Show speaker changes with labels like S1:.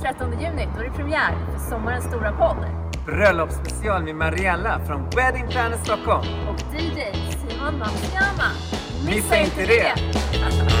S1: 13 juni, då är det premiär för sommarens stora podd.
S2: Bröllopsspecial med Mariella från Wedding Planner Stockholm.
S1: Och DJ Simon Mansgama.
S2: Missa inte det!